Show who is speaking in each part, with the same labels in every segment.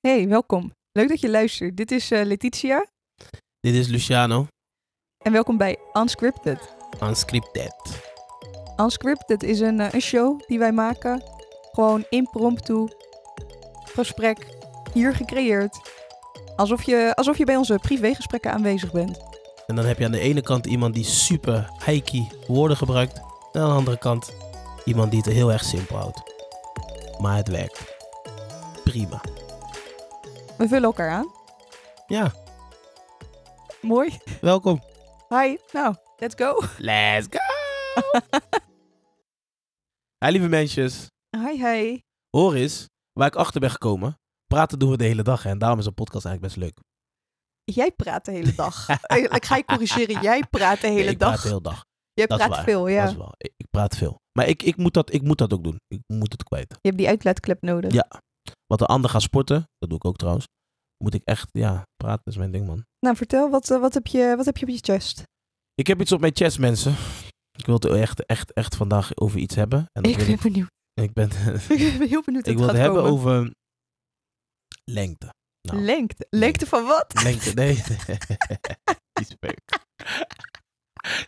Speaker 1: Hey, welkom. Leuk dat je luistert. Dit is eh, Letitia
Speaker 2: Dit is Luciano,
Speaker 1: en welkom bij Unscripted.
Speaker 2: unscripted.
Speaker 1: Unscripted is een, eh, een show die wij maken. Gewoon impromptu. Gesprek. Hier gecreëerd. Alsof je, alsof je bij onze privégesprekken aanwezig bent.
Speaker 2: En dan heb je aan de ene kant iemand die super high-key woorden gebruikt. En aan de andere kant iemand die het heel erg simpel houdt. Maar het werkt. Prima.
Speaker 1: We vullen elkaar aan.
Speaker 2: Ja,
Speaker 1: Mooi.
Speaker 2: welkom.
Speaker 1: Hi. Nou, let's go.
Speaker 2: Let's go! Hi lieve mensjes.
Speaker 1: Hi, hi.
Speaker 2: Hoor eens, waar ik achter ben gekomen. Praten doen we de hele dag hè, en daarom is een podcast eigenlijk best leuk.
Speaker 1: Jij praat de hele dag. Eh, Ik ga je corrigeren. Jij praat de hele
Speaker 2: Nee, ik
Speaker 1: dag.
Speaker 2: praat de hele dag.
Speaker 1: Jij
Speaker 2: Dat is
Speaker 1: praat
Speaker 2: waar.
Speaker 1: veel, ja.
Speaker 2: Dat is wel. Ik, ik praat veel. Maar ik, ik, moet dat, ik moet dat ook doen. Ik moet het kwijt.
Speaker 1: Je hebt die uitlaatklep nodig.
Speaker 2: Ja. Want de ander gaat sporten, dat doe ik ook trouwens. Moet ik echt, ja, praten is mijn ding, man.
Speaker 1: Nou, vertel, wat, eh, wat, heb je, wat heb je op je chest?
Speaker 2: Ik heb iets op mijn chest, mensen. Ik wil het echt, echt, echt vandaag over iets hebben. En dat
Speaker 1: Ik
Speaker 2: wil
Speaker 1: ben
Speaker 2: ik,
Speaker 1: benieuwd.
Speaker 2: ik ben,
Speaker 1: Ik ben heel benieuwd hoe
Speaker 2: ik wil
Speaker 1: het
Speaker 2: het
Speaker 1: gaat
Speaker 2: hebben
Speaker 1: komen.
Speaker 2: over lengte. nou.
Speaker 1: Lengte. Lengte van wat?
Speaker 2: Lengte, nee. Die speuk.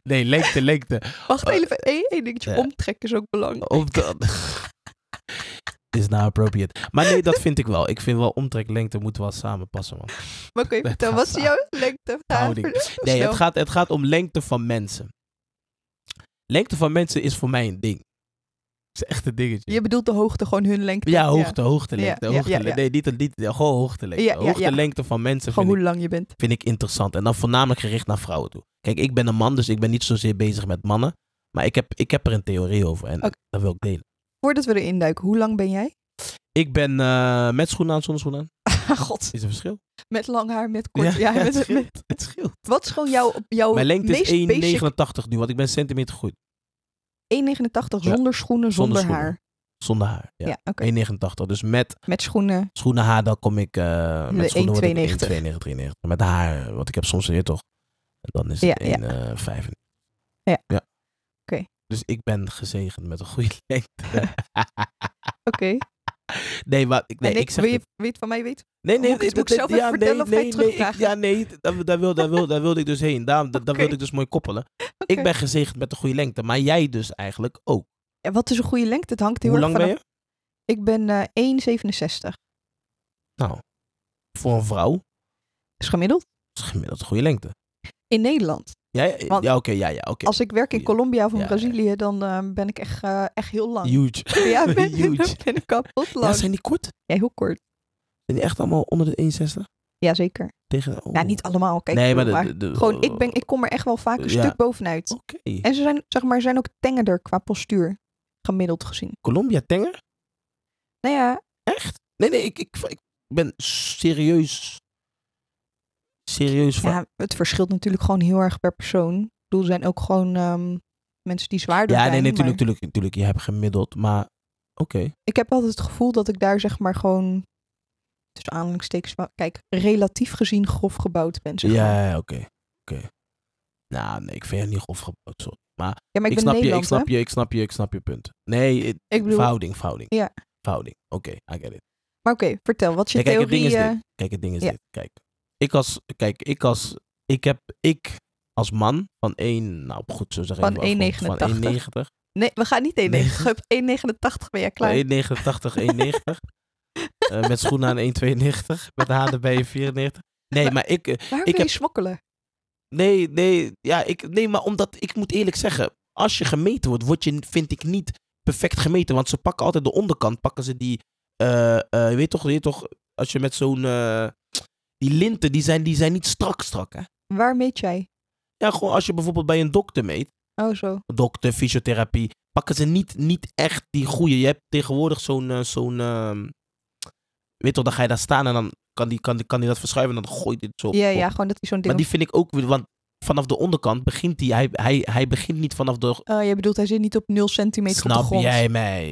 Speaker 2: Nee, lengte, lengte.
Speaker 1: Wacht even. Eén één dingetje.
Speaker 2: eh,
Speaker 1: Omtrek is ook belangrijk.
Speaker 2: Om dan... Is nou appropriate. Maar nee, dat vind ik wel. Ik vind wel omtrek lengte moet wel samenpassen, man.
Speaker 1: Maar oké,
Speaker 2: dat
Speaker 1: vertel.
Speaker 2: gaat
Speaker 1: Wat is
Speaker 2: samen.
Speaker 1: jouw lengte? Ga
Speaker 2: Houding.
Speaker 1: even snel.
Speaker 2: Nee, het gaat, het gaat om lengte van mensen. Lengte van mensen is voor mij een ding. Het is echt een dingetje.
Speaker 1: Je bedoelt de hoogte, gewoon hun lengte.
Speaker 2: ja, hoogte, hoogte, lengte.
Speaker 1: Ja, ja,
Speaker 2: hoogte,
Speaker 1: ja, ja.
Speaker 2: Nee, niet, niet, gewoon hoogte, lengte.
Speaker 1: Ja, ja, ja.
Speaker 2: hoogte, lengte van mensen
Speaker 1: Gewoon
Speaker 2: vind
Speaker 1: hoe
Speaker 2: ik,
Speaker 1: lang je bent.
Speaker 2: vind ik interessant. En dan voornamelijk gericht naar vrouwen toe. Kijk, ik ben een man, dus ik ben niet zozeer bezig met mannen. Maar ik heb, ik heb er een theorie over en
Speaker 1: Oké.
Speaker 2: dat wil ik delen.
Speaker 1: Voordat we erin duiken, hoe lang ben jij?
Speaker 2: Ik ben eh, met schoenen aan, zonder schoenen aan.
Speaker 1: Ah, god.
Speaker 2: Is er verschil?
Speaker 1: Met lang haar, met kort. Ja,
Speaker 2: het,
Speaker 1: met,
Speaker 2: scheelt,
Speaker 1: met-
Speaker 2: het scheelt.
Speaker 1: wat is gewoon jouw, jouw
Speaker 2: Mijn lengte
Speaker 1: meest
Speaker 2: is 1,89
Speaker 1: basic-
Speaker 2: nu, want ik ben een centimeter goed.
Speaker 1: 1,89 zonder schoenen, zonder,
Speaker 2: Zonder schoenen.
Speaker 1: haar.
Speaker 2: Zonder haar. Ja.
Speaker 1: Ja, oké.
Speaker 2: 1,89. Dus met
Speaker 1: Met schoenen.
Speaker 2: schoenen haar, dan kom ik eh
Speaker 1: De
Speaker 2: met schoenen word ik
Speaker 1: 1,92.
Speaker 2: 1,92, 93. Met haar, want ik heb soms weer toch. En dan is het eh,
Speaker 1: Ja, ja.
Speaker 2: 1,95.
Speaker 1: Ja.
Speaker 2: Oké.
Speaker 1: Oké.
Speaker 2: Dus ik ben gezegend met een goede lengte.
Speaker 1: Oké.
Speaker 2: nee, maar ik, nee,
Speaker 1: En
Speaker 2: ik zeg
Speaker 1: wil je,
Speaker 2: dit-
Speaker 1: wil je het van mij weten?
Speaker 2: Nee, nee,
Speaker 1: moet ik-
Speaker 2: dit-
Speaker 1: moet ik
Speaker 2: dit-
Speaker 1: zelf
Speaker 2: ja,
Speaker 1: even vertellen of ga je
Speaker 2: nee,
Speaker 1: het
Speaker 2: nee, ik,
Speaker 1: terugvragen?
Speaker 2: Ja, nee, daar, daar, wil, daar, wil, daar wilde ik dus heen. Daar, daar
Speaker 1: Oké.
Speaker 2: wilde ik dus mooi koppelen.
Speaker 1: Oké.
Speaker 2: Ik ben gezegend met een goede lengte, maar jij dus eigenlijk ook.
Speaker 1: Ja, wat is een goede lengte? Het hangt heel
Speaker 2: Hoe
Speaker 1: erg
Speaker 2: lang
Speaker 1: vanaf.
Speaker 2: ben je?
Speaker 1: Ik ben eh 1,67.
Speaker 2: Nou, voor een vrouw
Speaker 1: Is gemiddeld.
Speaker 2: is gemiddeld een goede lengte.
Speaker 1: In Nederland.
Speaker 2: Ja, ja, ja
Speaker 1: Want-
Speaker 2: oké, ja, ja, oké.
Speaker 1: Als ik werk in
Speaker 2: Ja.
Speaker 1: Colombia of in
Speaker 2: Ja, ja.
Speaker 1: Brazilië, dan eh, ben ik echt, eh, echt heel lang.
Speaker 2: Huge.
Speaker 1: Ja, ben,
Speaker 2: Huge.
Speaker 1: dan ben ik kapot
Speaker 2: Ja,
Speaker 1: lang.
Speaker 2: zijn die kort?
Speaker 1: Ja, heel kort.
Speaker 2: Zijn die echt allemaal onder de 1,60?
Speaker 1: Jazeker.
Speaker 2: Tegen, oh.
Speaker 1: Nou, niet allemaal. Kijk,
Speaker 2: nee, maar, de-
Speaker 1: maar
Speaker 2: de, de-
Speaker 1: gewoon, ik, ben, ik kom er echt wel vaak een
Speaker 2: Ja. Oh.
Speaker 1: stuk bovenuit.
Speaker 2: Oké.
Speaker 1: En ze zijn, zeg maar, zijn ook tengerder qua postuur, gemiddeld gezien.
Speaker 2: Colombia tenger?
Speaker 1: Nou ja,
Speaker 2: Echt? Nee, nee, ik, ik, ik ben serieus... Serieus van...
Speaker 1: ja, het verschilt natuurlijk gewoon heel erg per persoon. Ik bedoel, er zijn ook gewoon ehm, mensen die zwaarder
Speaker 2: Ja,
Speaker 1: zijn.
Speaker 2: nee, natuurlijk,
Speaker 1: maar
Speaker 2: natuurlijk, natuurlijk. Je hebt gemiddeld, maar... Oké.
Speaker 1: Ik heb altijd het gevoel dat ik daar, zeg maar, gewoon... tussen aanhalingstekens, wel- kijk, relatief gezien grof gebouwd ben. Zeg maar.
Speaker 2: Ja, ja, oké. Oké. Nou, nee, ik vind het niet grof gebouwd, sorry. Maar
Speaker 1: Ja, maar ik,
Speaker 2: ik,
Speaker 1: ben
Speaker 2: snap je, ik
Speaker 1: Nederland, hè?
Speaker 2: snap je, ik snap je, ik snap je punt. Nee, het-
Speaker 1: Ik bedoel-
Speaker 2: verhouding, verhouding.
Speaker 1: Ja.
Speaker 2: Verhouding. Oké, I get it.
Speaker 1: Maar oké, vertel, wat is je
Speaker 2: Ja, kijk, het
Speaker 1: theorie?
Speaker 2: ding is
Speaker 1: eh,
Speaker 2: dit. Kijk, het ding is
Speaker 1: Ja.
Speaker 2: dit. Kijk, ik als, kijk, ik als, ik heb, ik als man van 1, nou goed, zo zeggen
Speaker 1: Van
Speaker 2: even afgerond,
Speaker 1: 1,89.
Speaker 2: Van 1,90.
Speaker 1: Nee, we gaan niet 1,90.
Speaker 2: Nee.
Speaker 1: Op 1,89 ben jij klaar.
Speaker 2: Van 1,89, 1,90. Eh, met schoenen aan 1,92. Met handen bij je 94. Nee,
Speaker 1: Maar-
Speaker 2: maar ik, eh,
Speaker 1: Waar
Speaker 2: ik
Speaker 1: wil je
Speaker 2: heb-
Speaker 1: smokkelen?
Speaker 2: nee, nee, ja, ik, nee, maar omdat, ik moet eerlijk zeggen, als je gemeten wordt, word je, vind ik niet perfect gemeten. Want ze pakken altijd de onderkant, pakken ze die, eh, eh, je weet toch, je weet toch, als je met zo'n, eh, die linten, die zijn, die zijn niet strak strak, hè.
Speaker 1: Waar meet jij?
Speaker 2: Ja, gewoon als je bijvoorbeeld bij een dokter meet,
Speaker 1: Oh, zo.
Speaker 2: dokter, fysiotherapie, pakken ze niet, niet echt die goede. Je hebt tegenwoordig zo'n, eh, zo'n, ehm, weet toch, dan ga je daar staan en dan kan die, kan die, kan die dat verschuiven en dan gooit dit zo. op-
Speaker 1: Ja,
Speaker 2: op.
Speaker 1: ja, gewoon dat hij zo'n ding...
Speaker 2: Maar die vind ik ook, weer- want vanaf de onderkant begint die, hij, hij, hij begint niet vanaf de,
Speaker 1: Oh, jij bedoelt, hij zit niet op 0 centimeter op de
Speaker 2: snap
Speaker 1: grond.
Speaker 2: jij mij?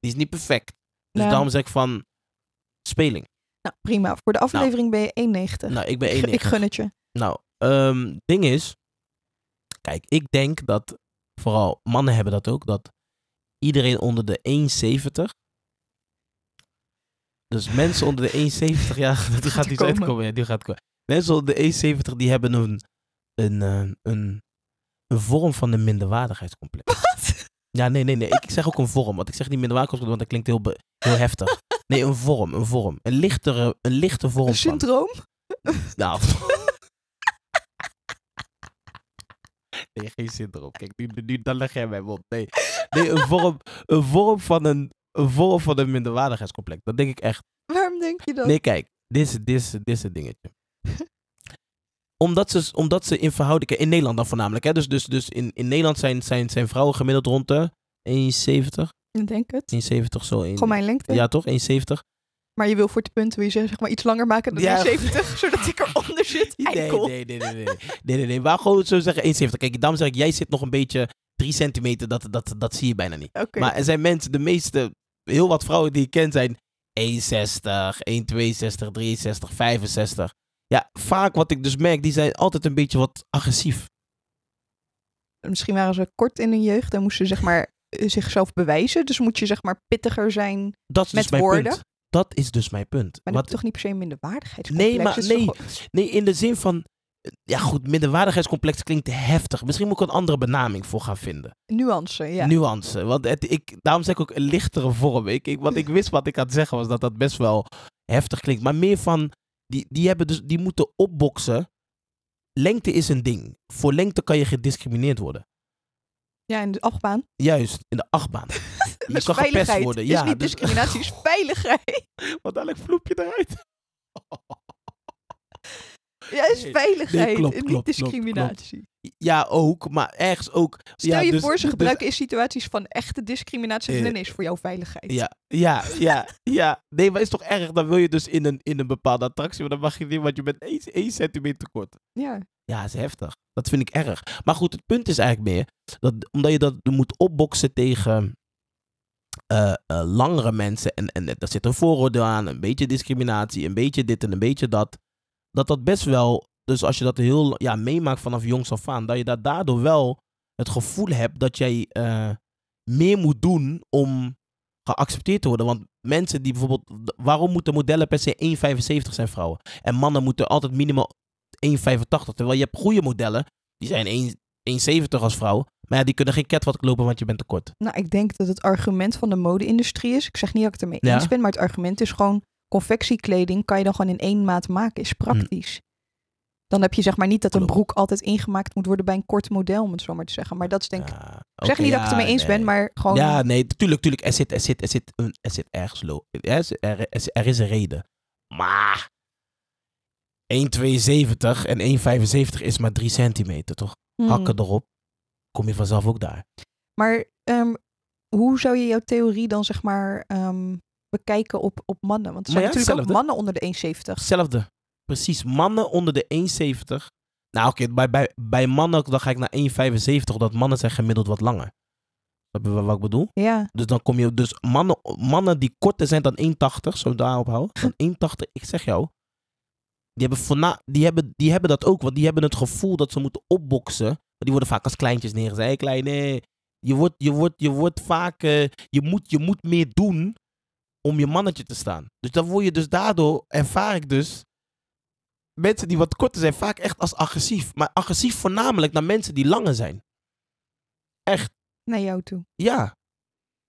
Speaker 2: Die is niet perfect. Dus
Speaker 1: Nou.
Speaker 2: daarom zeg ik van, speling.
Speaker 1: Nou, prima. Voor de aflevering ben je 1,90.
Speaker 2: Nou, ik ben
Speaker 1: Ik-
Speaker 2: één.
Speaker 1: ik gun het je.
Speaker 2: Nou, ehm ding is, kijk, ik denk dat vooral mannen hebben dat ook, dat iedereen onder de 1,70 Dus mensen onder de 1,70, ja, dat gaat, iets
Speaker 1: komen.
Speaker 2: uitkomen. Ja, die gaat komen. Mensen onder de 1,70 die hebben een, een, eh, een, een vorm van een minderwaardigheidscomplex.
Speaker 1: Wat?
Speaker 2: Ja, nee, nee, nee. Ik zeg ook een vorm, want ik zeg niet minderwaardigheidscomplex, want dat klinkt heel, be- heel heftig. Nee, een vorm, een vorm. Een, lichtere, een lichte vorm
Speaker 1: Een
Speaker 2: van.
Speaker 1: syndroom?
Speaker 2: Nou. nee, geen syndroom. Kijk, nu, nu, dan leg jij mijn mond. Nee, nee een, vorm, een, vorm van een, een vorm van een minderwaardigheidscomplex. Dat denk ik echt.
Speaker 1: Waarom denk je dat?
Speaker 2: Nee, kijk, dit is, dit is, dit is het dingetje. omdat, ze, omdat ze in verhouding, in Nederland dan voornamelijk, hè? dus, dus, dus in, in Nederland zijn, zijn, zijn vrouwen gemiddeld rond de 1,70,
Speaker 1: Ik denk het.
Speaker 2: 1,70 zo. één-
Speaker 1: Gewoon mijn lengte.
Speaker 2: ja, toch? 1,70.
Speaker 1: Maar je wil voor de punten, wil je zeggen, zeg maar iets langer maken dan
Speaker 2: Ja.
Speaker 1: 70, zodat ik eronder zit.
Speaker 2: Nee,
Speaker 1: Eikel.
Speaker 2: nee, nee, nee, nee. nee, nee, nee. Maar gewoon zo zeggen 1,70. Kijk, daarom zeg ik, jij zit nog een beetje 3 centimeter, dat, dat, dat zie je bijna niet.
Speaker 1: Oké.
Speaker 2: Maar er zijn mensen, de meeste, heel wat vrouwen die ik ken zijn 1,60, 1,62, 63, 65. Ja, vaak wat ik dus merk, die zijn altijd een beetje wat agressief.
Speaker 1: Misschien waren ze kort in hun jeugd en moesten ze zeg maar eh, zichzelf bewijzen. Dus moet je zeg maar pittiger zijn. Maar
Speaker 2: Dat is dus
Speaker 1: Met
Speaker 2: mijn
Speaker 1: woorden?
Speaker 2: punt. Dat is dus mijn punt.
Speaker 1: dat
Speaker 2: Wat-
Speaker 1: is toch niet per se minderwaardigheid?
Speaker 2: Nee, maar- nee. Nee, in de zin van, ja goed, minderwaardigheidscomplex klinkt heftig. Misschien moet ik een andere benaming voor gaan vinden.
Speaker 1: Nuance, ja.
Speaker 2: nuance. Want het, ik, daarom zeg ik ook een lichtere vorm. Ik, ik, want ik wist wat ik aan het zeggen was dat dat best wel heftig klinkt. Maar meer van, die, die, hebben dus, die moeten opboksen. Lengte is een ding. Voor lengte kan je gediscrimineerd worden.
Speaker 1: Ja, in de achtbaan.
Speaker 2: Juist, in de achtbaan. Je
Speaker 1: Dus
Speaker 2: kan gepest
Speaker 1: veiligheid.
Speaker 2: worden.
Speaker 1: Is
Speaker 2: ja,
Speaker 1: niet
Speaker 2: dus-
Speaker 1: discriminatie, is veiligheid.
Speaker 2: Want dadelijk vloep je eruit.
Speaker 1: Ja, is
Speaker 2: Nee,
Speaker 1: veiligheid.
Speaker 2: klopt,
Speaker 1: en niet
Speaker 2: klopt, klopt,
Speaker 1: discriminatie.
Speaker 2: Ja, ook. Maar ergens ook.
Speaker 1: Stel
Speaker 2: ja,
Speaker 1: je
Speaker 2: dus-
Speaker 1: voor, ze
Speaker 2: dus-
Speaker 1: gebruiken in situaties van echte discriminatie.
Speaker 2: Eh,
Speaker 1: en is voor jouw veiligheid.
Speaker 2: Ja, ja, ja, ja. Nee, maar is toch erg? Dan wil je dus in een, in een bepaalde attractie, maar dan mag je niet, want je bent één- één centimeter te kort.
Speaker 1: ja.
Speaker 2: Ja, is heftig. Dat vind ik erg. Maar goed, het punt is eigenlijk meer dat omdat je dat moet opboksen tegen eh, eh, langere mensen en, en daar zit een vooroordeel aan, een beetje discriminatie, een beetje dit en een beetje dat, dat dat best wel, dus als je dat heel ja, meemaakt vanaf jongs af aan, dat je dat daardoor wel het gevoel hebt dat jij eh, meer moet doen om geaccepteerd te worden. Want mensen die bijvoorbeeld, waarom moeten modellen per se 1,75 zijn vrouwen? En mannen moeten altijd minimaal 1,85. Terwijl je hebt goede modellen, die zijn 1, 1,70 als vrouw. Maar ja, die kunnen geen catwalk lopen, want je bent te kort.
Speaker 1: Nou, ik denk dat het argument van de mode-industrie is. Ik zeg niet dat ik het ermee
Speaker 2: Ja.
Speaker 1: eens ben, maar het argument is gewoon: confectiekleding kan je dan gewoon in één maat maken, is praktisch. Dan heb je zeg maar niet dat een
Speaker 2: Hm. Klopt.
Speaker 1: broek altijd ingemaakt moet worden bij een kort model, om het zo maar te zeggen. Maar dat is denk ik.
Speaker 2: Ja,
Speaker 1: Ik zeg
Speaker 2: oké,
Speaker 1: niet dat ik het
Speaker 2: ja,
Speaker 1: ermee eens ben,
Speaker 2: nee.
Speaker 1: maar gewoon.
Speaker 2: Ja, nee, tuurlijk, tuurlijk. Er zit, er zit, er zit, een, er zit ergens lo. Er, is- er, is- er is een reden. Maar 1,72 en 1,75 is maar 3 centimeter, toch?
Speaker 1: hmm.
Speaker 2: Hakken erop, kom je vanzelf ook daar.
Speaker 1: Maar ehm, hoe zou je jouw theorie dan zeg maar ehm, bekijken op, op mannen? Want er
Speaker 2: Maar
Speaker 1: zijn
Speaker 2: ja,
Speaker 1: natuurlijk ook
Speaker 2: hetzelfde.
Speaker 1: mannen onder de 1,70.
Speaker 2: Hetzelfde. Precies, mannen onder de 1,70. Nou oké, bij, bij, bij mannen dan ga ik naar 1,75, omdat mannen zijn gemiddeld wat langer. Snap je wa- wat ik bedoel?
Speaker 1: Ja,
Speaker 2: Dus dan kom je, dus mannen, mannen die korter zijn dan 1,80, zo daarop hou. Dan 1,80, ik zeg jou. Die hebben, voorna, die, hebben, die hebben dat ook, want die hebben het gevoel dat ze moeten opboksen. Maar die worden vaak als kleintjes neergezet. Hé, kleine. Je wordt, je wordt, je wordt vaak, eh, je, moet, je moet meer doen om je mannetje te staan. Dus dan word je dus daardoor, ervaar ik dus, mensen die wat korter zijn, vaak echt als agressief. Maar agressief voornamelijk naar mensen die langer zijn.
Speaker 1: naar jou toe.
Speaker 2: Ja.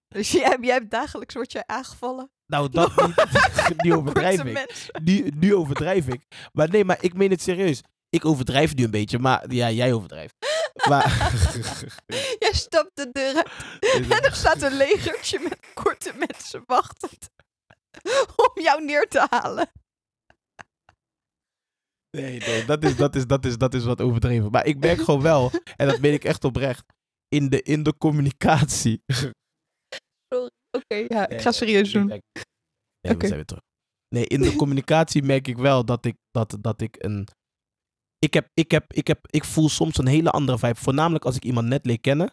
Speaker 1: Dus jij, jij hebt dagelijks wordt jij aangevallen.
Speaker 2: Nou, dat niet. Die
Speaker 1: door
Speaker 2: overdrijf
Speaker 1: korte
Speaker 2: ik.
Speaker 1: mensen.
Speaker 2: nu, nu overdrijf ik. Maar nee, maar ik meen het serieus. Ik overdrijf nu een beetje, maar ja, jij overdrijft. Maar,
Speaker 1: Jij stapt de deur uit. En er staat een legertje met korte mensen wachtend. Om jou neer te halen.
Speaker 2: nee, nee, dat is, dat, is, dat, is, dat is wat overdreven. Maar ik merk gewoon wel, en dat meen ik echt oprecht, in de, in de communicatie.
Speaker 1: Oké, ja, ik ga serieus doen.
Speaker 2: Nee, we
Speaker 1: Oké.
Speaker 2: zijn weer terug. Nee, in de communicatie merk ik wel dat ik, dat, dat ik een... Ik, heb, ik, heb, ik, heb, ik voel soms een hele andere vibe. Voornamelijk als ik iemand net leer kennen.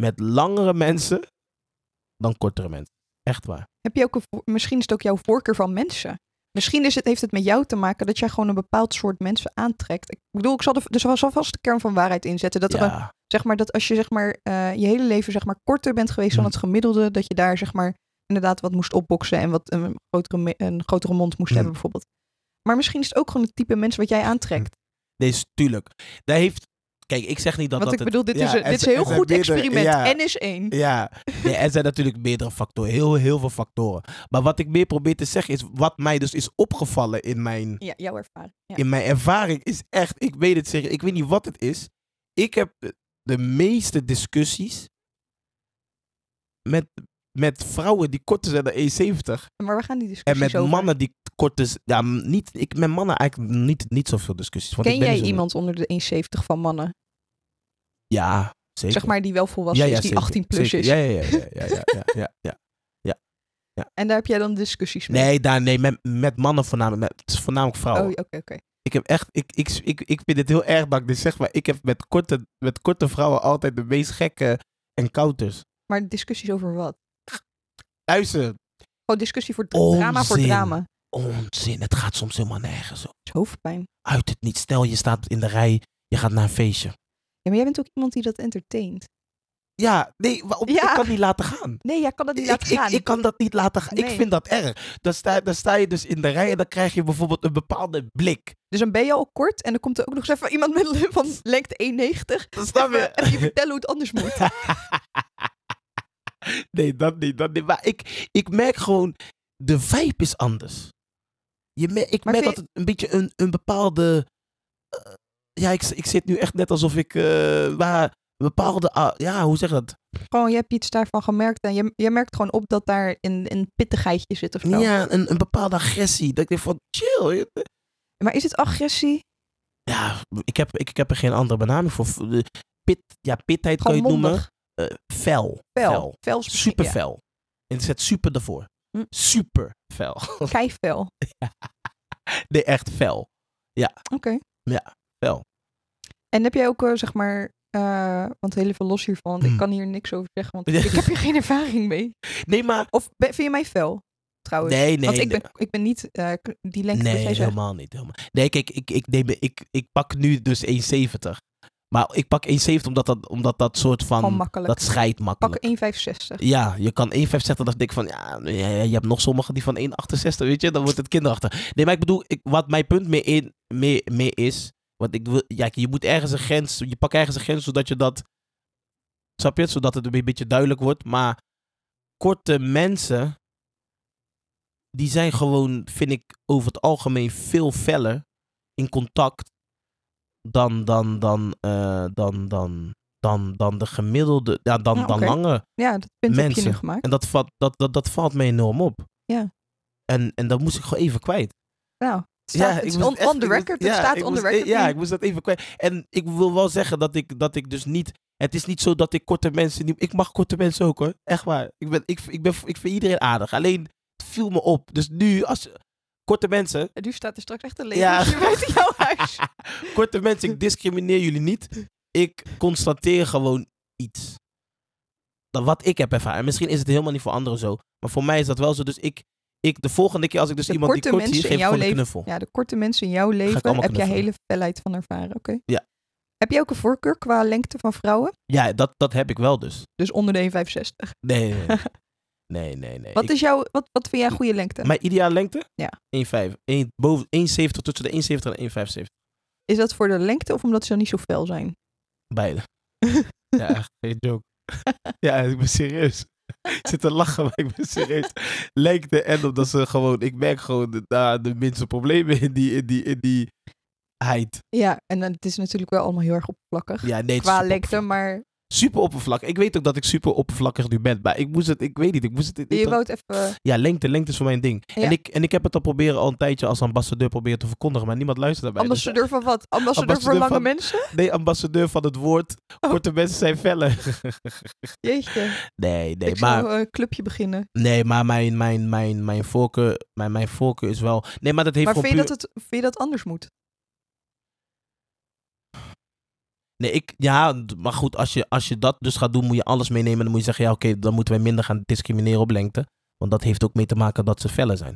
Speaker 2: Met langere mensen dan kortere mensen. Echt waar.
Speaker 1: Heb je ook een voor- misschien is het ook jouw voorkeur van mensen. Misschien is het, heeft het met jou te maken dat jij gewoon een bepaald soort mensen aantrekt. Ik bedoel, ik zal er, er zal vast de kern van waarheid inzetten. Dat, er een, zeg maar, dat als je zeg maar, eh, je hele leven zeg maar, korter bent geweest dan
Speaker 2: Mhm.
Speaker 1: het gemiddelde, dat je daar zeg maar, inderdaad wat moest opboksen en wat een grotere, me- een grotere mond moest
Speaker 2: Mhm.
Speaker 1: hebben bijvoorbeeld. Maar misschien is het ook gewoon het type mensen wat jij
Speaker 2: Mm.
Speaker 1: aantrekt.
Speaker 2: Nee, is- tuurlijk. Daar heeft... Kijk, ik zeg niet dat
Speaker 1: Want
Speaker 2: dat
Speaker 1: ik bedoel, dit
Speaker 2: ja,
Speaker 1: is een,
Speaker 2: er
Speaker 1: dit is een
Speaker 2: zijn-
Speaker 1: heel
Speaker 2: er zijn
Speaker 1: goed
Speaker 2: meerdere-
Speaker 1: experiment.
Speaker 2: ja.
Speaker 1: N is één.
Speaker 2: Ja, nee, er zijn natuurlijk meerdere factoren. Heel, heel veel factoren. Maar wat ik meer probeer te zeggen is, wat mij dus is opgevallen in mijn,
Speaker 1: Ja, jouw ervaring. Ja.
Speaker 2: in mijn ervaring, is echt, ik weet het zeker, ik weet niet wat het is. Ik heb de- de meeste discussies met, met vrouwen die korter zijn dan 1,70.
Speaker 1: Maar we gaan die
Speaker 2: E En
Speaker 1: discussie
Speaker 2: met mannen die korter zijn. Ja, m- niet, ik, met mannen eigenlijk niet, niet zoveel discussies. Want
Speaker 1: Ken
Speaker 2: ik ben dus
Speaker 1: jij
Speaker 2: niet zo-
Speaker 1: iemand onder de 1,70 van mannen?
Speaker 2: Ja, zeker.
Speaker 1: Zeg maar die wel volwassen is, die
Speaker 2: zeker,
Speaker 1: 18 plus
Speaker 2: zeker.
Speaker 1: is.
Speaker 2: Ja, ja, ja, ja, ja, ja, ja, ja.
Speaker 1: En daar heb jij dan discussies mee?
Speaker 2: Nee, daar, nee met, met mannen voornamelijk. Met, het is voornamelijk
Speaker 1: Oh,
Speaker 2: vrouwen.
Speaker 1: oké, oké.
Speaker 2: Ik heb echt, ik, ik, ik, ik vind het heel erg dat ik dit zeg, maar ik heb met korte, met korte vrouwen altijd de meest gekke encounters.
Speaker 1: Maar discussies over wat?
Speaker 2: Luister,
Speaker 1: Oh, discussie voor dra- drama voor
Speaker 2: Onzin.
Speaker 1: drama.
Speaker 2: onzin, het gaat soms helemaal nergens op.
Speaker 1: Dat is hoofdpijn.
Speaker 2: Uit het niet, stel je staat in de rij, je gaat naar een feestje.
Speaker 1: Ja, maar jij bent ook iemand die dat entertaint.
Speaker 2: Ja, nee, waarom,
Speaker 1: Ja.
Speaker 2: ik kan niet laten gaan.
Speaker 1: Nee, jij kan dat niet
Speaker 2: Ik,
Speaker 1: laten
Speaker 2: ik,
Speaker 1: gaan.
Speaker 2: ik kan dat niet laten gaan.
Speaker 1: Nee.
Speaker 2: Ik vind dat erg. Dan sta, dan sta je dus in de rij en dan krijg je bijvoorbeeld een bepaalde blik.
Speaker 1: Dus dan ben je al kort en dan komt er ook nog eens even iemand met van lengte 1,90.
Speaker 2: Dan snap je?
Speaker 1: Even, even je vertellen hoe het anders moet.
Speaker 2: Nee, dat niet, dat niet. Maar ik, ik merk gewoon, de vibe is anders. Je mer- ik
Speaker 1: Maar
Speaker 2: merk
Speaker 1: vind
Speaker 2: altijd een beetje een, een bepaalde... eh, ja, ik, ik zit nu echt net alsof ik... eh, waar een bepaalde... ah, ja, hoe zeg je dat?
Speaker 1: Gewoon, je hebt iets daarvan gemerkt en je, je merkt gewoon op dat daar een, een pittigheidje zit of zo.
Speaker 2: Ja, een, een bepaalde agressie. Dat ik denk van, chill. je-
Speaker 1: Maar is het agressie?
Speaker 2: Ja, ik heb, ik, ik heb er geen andere benaming voor. Eh, Pit, ja, pitheid kan
Speaker 1: Gewoon
Speaker 2: je het noemen.
Speaker 1: mondig.
Speaker 2: Eh, fel.
Speaker 1: Fel. Fel. is misschien-
Speaker 2: Super fel. En ik zet super ervoor.
Speaker 1: Hm.
Speaker 2: Super fel.
Speaker 1: Ja. Keifel. Oké.
Speaker 2: Nee, echt fel. Fel.
Speaker 1: En heb jij ook, eh, zeg maar, eh, want heel even los hiervan, want ik
Speaker 2: Hmm.
Speaker 1: kan hier niks over zeggen, want
Speaker 2: Ja.
Speaker 1: ik heb hier geen ervaring mee.
Speaker 2: Nee, maar
Speaker 1: Of ben- vind je mij fel, trouwens?
Speaker 2: Nee, nee.
Speaker 1: want ik
Speaker 2: nee.
Speaker 1: ben, ik ben niet eh, k- die lengte
Speaker 2: nee,
Speaker 1: die jij zegt.
Speaker 2: helemaal niet. Helemaal. Nee, kijk, ik, ik, neem, ik, ik pak nu dus 1,70. Maar ik pak 1,70 omdat dat, omdat dat soort
Speaker 1: Gewoon
Speaker 2: van...
Speaker 1: makkelijk.
Speaker 2: Dat scheidt
Speaker 1: Pak
Speaker 2: makkelijk.
Speaker 1: 1,65.
Speaker 2: Ja, je kan 1,50 zeggen, dan denk ik van, ja, nee, ja, je hebt nog sommigen die van 1,68, weet je, dan wordt het kinderachtig. Nee, maar ik bedoel, ik, wat mijn punt meer, in, meer, meer is, want ik wil, ja, je moet ergens een grens, je pakt ergens een grens zodat je dat, snap je het, zodat het een beetje duidelijk wordt, maar korte mensen, die zijn gewoon, vind ik, over het algemeen veel feller in contact dan, dan, dan, eh, dan, dan, dan, dan de gemiddelde, ja, dan,
Speaker 1: Ja,
Speaker 2: dan
Speaker 1: oké.
Speaker 2: lange.
Speaker 1: Ja, dat punt heb je nu
Speaker 2: Mensen.
Speaker 1: gemaakt.
Speaker 2: En dat, valt dat, dat, dat valt mij enorm op.
Speaker 1: Ja.
Speaker 2: En, en dat moest ik gewoon even kwijt.
Speaker 1: Nou, het staat, het
Speaker 2: ik
Speaker 1: is
Speaker 2: moest
Speaker 1: on,
Speaker 2: echt-
Speaker 1: on the
Speaker 2: ik moest-
Speaker 1: record.
Speaker 2: ja,
Speaker 1: het staat
Speaker 2: ik
Speaker 1: on the
Speaker 2: moest-
Speaker 1: record.
Speaker 2: Ja,
Speaker 1: nu.
Speaker 2: ik moest dat even kwijt. En ik wil wel zeggen dat ik, dat ik dus niet... Het is niet zo dat ik korte mensen... Niet, ik mag korte mensen ook hoor. Echt waar. Ik, ben, ik, ik, ben, ik vind iedereen aardig. Alleen, het viel me op. Dus nu, als... Korte mensen...
Speaker 1: En nu staat er straks echt een leeg
Speaker 2: Ja.
Speaker 1: ja. buiten jouw huis.
Speaker 2: Korte mensen, ik discrimineer jullie niet. Ik constateer gewoon iets. Dat wat ik heb ervaren. En misschien is het helemaal niet voor anderen zo. Maar voor mij is dat wel zo. Dus ik, ik de volgende keer als ik dus
Speaker 1: De
Speaker 2: iemand die
Speaker 1: korte
Speaker 2: kort zie,
Speaker 1: mensen
Speaker 2: geef
Speaker 1: in
Speaker 2: ik
Speaker 1: jouw
Speaker 2: gewoon een
Speaker 1: leven-
Speaker 2: knuffel.
Speaker 1: Ja, de korte mensen in jouw leven
Speaker 2: allemaal
Speaker 1: heb jij
Speaker 2: knuffelen.
Speaker 1: hele felheid van ervaren. Oké.
Speaker 2: Ja.
Speaker 1: Heb jij ook een voorkeur qua lengte van vrouwen?
Speaker 2: Ja, dat, dat heb ik wel dus.
Speaker 1: Dus onder de 1,65.
Speaker 2: Nee, nee, nee. nee, nee, nee.
Speaker 1: Wat,
Speaker 2: Ik-
Speaker 1: is jouw, wat, wat vind jij een goede lengte?
Speaker 2: Mijn ideale lengte?
Speaker 1: Ja.
Speaker 2: 1,5. Eén- boven 1,70 tussen de 1,70 en 1,75.
Speaker 1: Is dat voor de lengte of omdat ze dan niet zo fel zijn?
Speaker 2: Beide. Ja, echt, geen joke. Ja, ik ben serieus. Ik zit te lachen, maar ik ben serieus. Lijkt de end op dat ze gewoon... Ik merk gewoon de, daar de minste problemen in die, in die, in die heid.
Speaker 1: Ja, en dan- het is natuurlijk wel allemaal heel erg oppervlakkig.
Speaker 2: Ja, nee, het is
Speaker 1: qua
Speaker 2: super
Speaker 1: lengte,
Speaker 2: oppervlak-
Speaker 1: maar
Speaker 2: Super oppervlak. Ik weet ook dat ik super oppervlakkig nu ben. Maar ik moest het... Ik weet niet, ik moest het...
Speaker 1: je wou het even...
Speaker 2: Ja, lengte, lengte is voor mijn ding.
Speaker 1: Ja.
Speaker 2: En, ik, en ik heb het al proberen al een tijdje als ambassadeur proberen te verkondigen, maar niemand luistert daarbij. Dus-
Speaker 1: Ambassadeur van wat? Ambassadeur,
Speaker 2: Ambassadeur
Speaker 1: voor lange
Speaker 2: van-
Speaker 1: mensen?
Speaker 2: nee, ambassadeur van het woord.
Speaker 1: Oh.
Speaker 2: Korte mensen zijn fellen.
Speaker 1: Jeetje.
Speaker 2: nee, nee,
Speaker 1: ik
Speaker 2: maar,
Speaker 1: zou een eh, clubje beginnen.
Speaker 2: nee, maar mijn, mijn, mijn, mijn, voorkeur, mijn, mijn voorkeur is wel... Nee, maar dat heeft
Speaker 1: Maar
Speaker 2: gewoon
Speaker 1: vind je, dat
Speaker 2: puur-
Speaker 1: het, vind je dat anders moet?
Speaker 2: Nee, ik... Ja, d- maar goed, als je, als je dat dus gaat doen, moet je alles meenemen. Dan moet je zeggen, ja, oké, dan moeten wij minder gaan discrimineren op lengte. Want dat heeft ook mee te maken dat ze fellen zijn.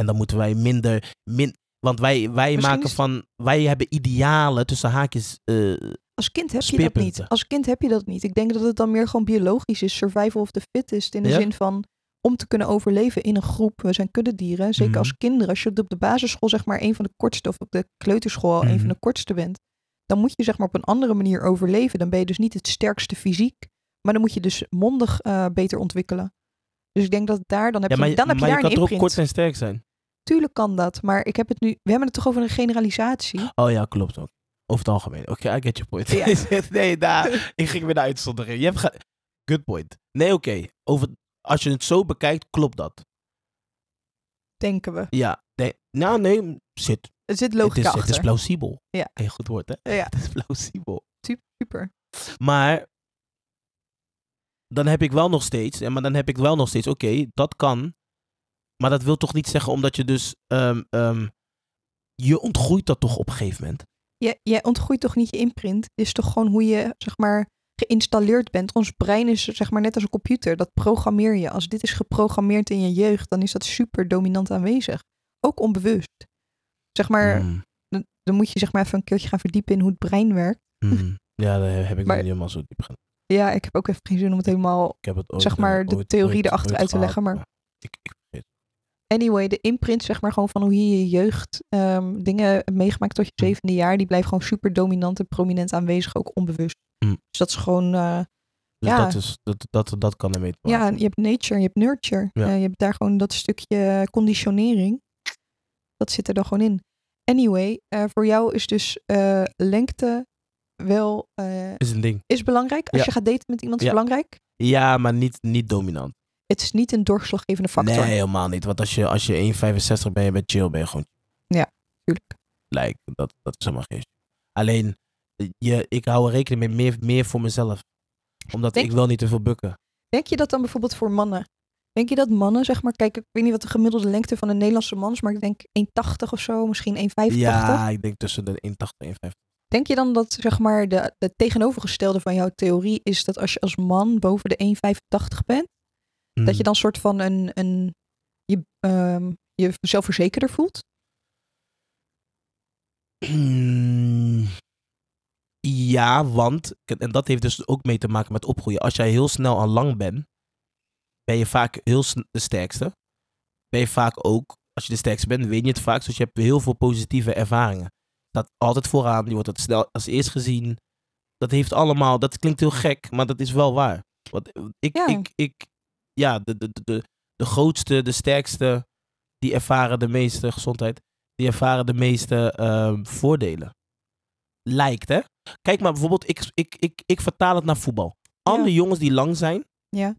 Speaker 2: En dan moeten wij minder... Min, want wij, wij
Speaker 1: Misschien
Speaker 2: maken
Speaker 1: is-
Speaker 2: van... Wij hebben idealen, tussen haakjes... eh,
Speaker 1: Als kind heb je dat niet.
Speaker 2: Speerpunten.
Speaker 1: Als kind heb je dat niet. Ik denk dat het dan meer gewoon biologisch is. Survival of the fittest. In de
Speaker 2: Ja?
Speaker 1: zin van om te kunnen overleven in een groep. We zijn kuddedieren, zeker
Speaker 2: Mhm.
Speaker 1: als kinderen. Als je op de basisschool zeg maar een van de kortste, of op de kleuterschool al een
Speaker 2: Mhm.
Speaker 1: van de kortste bent, dan moet je zeg maar op een andere manier overleven. Dan ben je dus niet het sterkste fysiek, maar dan moet je dus mondig eh, beter ontwikkelen. Dus ik denk dat daar, dan heb
Speaker 2: Ja, maar,
Speaker 1: je, dan heb
Speaker 2: maar
Speaker 1: je
Speaker 2: je
Speaker 1: daar
Speaker 2: kan
Speaker 1: een
Speaker 2: toch ook
Speaker 1: imprint.
Speaker 2: kort en sterk zijn?
Speaker 1: Tuurlijk kan dat, maar ik heb het nu, we hebben het toch over een generalisatie?
Speaker 2: Oh ja, klopt ook. Over het algemeen. Oké, I get your point.
Speaker 1: Ja.
Speaker 2: nee, daar, ik ging weer naar uitzondering. Je hebt ge- Good point. Nee, oké. Over... Als je het zo bekijkt, klopt dat.
Speaker 1: Denken we.
Speaker 2: Ja. Nee, nou, nee. Zit.
Speaker 1: Er zit
Speaker 2: Het
Speaker 1: logica
Speaker 2: is, het
Speaker 1: achter.
Speaker 2: is plausibel.
Speaker 1: Ja.
Speaker 2: Hey, goed woord, hè?
Speaker 1: Ja.
Speaker 2: Het is plausibel.
Speaker 1: Super.
Speaker 2: Maar dan heb ik wel nog steeds, en maar dan heb ik wel nog steeds, oké, dat kan. Maar dat wil toch niet zeggen omdat je dus, ehm, ehm, je ontgroeit dat toch op een gegeven moment.
Speaker 1: Jij, jij ontgroeit toch niet je imprint? Het is toch gewoon hoe je, zeg maar, geïnstalleerd bent. Ons brein is, zeg maar, net als een computer. Dat programmeer je. Als dit is geprogrammeerd in je jeugd, dan is dat super dominant aanwezig. Ook onbewust. Zeg maar,
Speaker 2: Mm,
Speaker 1: dan, dan moet je zeg maar even een keertje gaan verdiepen in hoe het brein werkt.
Speaker 2: mm. Ja, daar heb ik nog
Speaker 1: Maar-
Speaker 2: niet helemaal zo diep gedaan.
Speaker 1: Ja, ik heb ook even geen zin om het helemaal
Speaker 2: Ik heb het ooit,
Speaker 1: Zeg
Speaker 2: eh,
Speaker 1: maar de
Speaker 2: ooit-
Speaker 1: theorie
Speaker 2: ooit-
Speaker 1: erachter
Speaker 2: ooit
Speaker 1: uit te
Speaker 2: gehad,
Speaker 1: leggen, maar-
Speaker 2: Ik, ik,
Speaker 1: anyway, de imprint, zeg maar, gewoon van hoe je je jeugd ehm, dingen hebt meegemaakt tot
Speaker 2: Mm.
Speaker 1: je zevende jaar, die blijft gewoon super dominant en prominent aanwezig, ook onbewust.
Speaker 2: Mm.
Speaker 1: Dus dat is gewoon, eh,
Speaker 2: dus
Speaker 1: Ja.
Speaker 2: dat, is, dat, dat, dat kan ermee te maken.
Speaker 1: ja, je hebt nature, je hebt nurture.
Speaker 2: Ja.
Speaker 1: Eh, je hebt daar gewoon dat stukje conditionering. Dat zit er dan gewoon in. Anyway, eh, voor jou is dus eh, lengte wel eh,
Speaker 2: is een ding.
Speaker 1: is belangrijk. Als
Speaker 2: Ja.
Speaker 1: je gaat daten met iemand is
Speaker 2: Ja.
Speaker 1: belangrijk.
Speaker 2: Ja, maar niet, niet dominant.
Speaker 1: Het is niet een doorslaggevende factor.
Speaker 2: Nee, helemaal niet. Want als je, als je 1,65 bent, je bent chill, ben je gewoon
Speaker 1: natuurlijk.
Speaker 2: lijkt. Dat, dat is helemaal geen issue. Alleen, je, ik hou er rekening mee meer, meer voor mezelf. Omdat
Speaker 1: Denk-
Speaker 2: ik wil niet te veel bukken.
Speaker 1: Denk je dat dan bijvoorbeeld voor mannen? Denk je dat mannen, zeg maar, kijk, ik weet niet wat de gemiddelde lengte van een Nederlandse man is, maar ik denk 1,80 of zo, misschien 1,85.
Speaker 2: Ja, ik denk tussen de 1,80 en 1,50.
Speaker 1: Denk je dan dat, zeg maar, de, de tegenovergestelde van jouw theorie is dat als je als man boven de 1,85 bent, dat je
Speaker 2: Hmm.
Speaker 1: dan soort van een, een je, ehm, je zelfverzekerder voelt?
Speaker 2: Hmm. Ja, want, en dat heeft dus ook mee te maken met opgroeien. Als jij heel snel al lang bent, ben je vaak heel sn- de sterkste. Ben je vaak ook, als je de sterkste bent, win je het vaak. Dus je hebt heel veel positieve ervaringen. Dat altijd vooraan, je wordt het snel als eerst gezien. Dat heeft allemaal, dat klinkt heel gek, maar dat is wel waar. Want ik,
Speaker 1: Ja.
Speaker 2: ik, ik, ja, de, de, de- de, de grootste, de sterkste, die ervaren de meeste gezondheid, die ervaren de meeste ehm, voordelen. Lijkt, hè? Kijk maar bijvoorbeeld, ik, ik, ik, ik vertaal het naar voetbal. Andere jongens die lang zijn,
Speaker 1: Ja.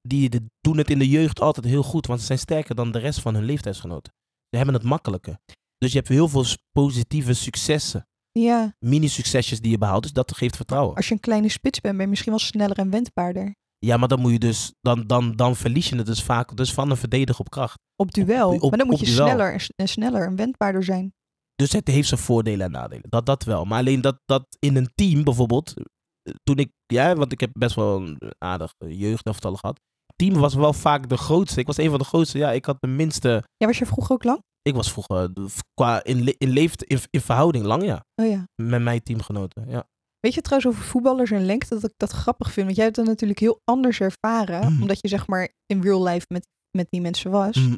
Speaker 2: die de- doen het in de jeugd altijd heel goed, want ze zijn sterker dan de rest van hun leeftijdsgenoten. Ze hebben het makkelijker. Dus je hebt heel veel s- positieve successen,
Speaker 1: Ja,
Speaker 2: mini-succesjes die je behaalt, dus dat geeft vertrouwen.
Speaker 1: als je een kleine spits bent, ben je misschien wel sneller en wendbaarder.
Speaker 2: Ja, maar dan moet je dus, dan, dan, dan verlies je het dus vaak dus van een verdediger op kracht.
Speaker 1: Op duel.
Speaker 2: op-
Speaker 1: maar dan moet
Speaker 2: op
Speaker 1: je
Speaker 2: duel.
Speaker 1: sneller en, s- en sneller en wendbaarder zijn.
Speaker 2: Dus het heeft zijn voordelen en nadelen. Dat, dat wel. Maar alleen dat, dat in een team bijvoorbeeld. eh, Toen ik, ja, want ik heb best wel een aardig eh, jeugdelftal gehad. Het team was wel vaak de grootste. Ik was een van de grootste. Ja, ik had de minste.
Speaker 1: Ja, was je vroeger ook lang?
Speaker 2: Ik was vroeger eh, v- qua in, le- in, leeft, in, in verhouding lang, ja.
Speaker 1: Oh ja.
Speaker 2: Met mijn teamgenoten. Ja.
Speaker 1: Weet je trouwens over voetballers en lengte dat ik dat grappig vind? Want jij hebt dat natuurlijk heel anders ervaren,
Speaker 2: Mhm.
Speaker 1: omdat je zeg maar in real life met, met die mensen was.
Speaker 2: Mhm.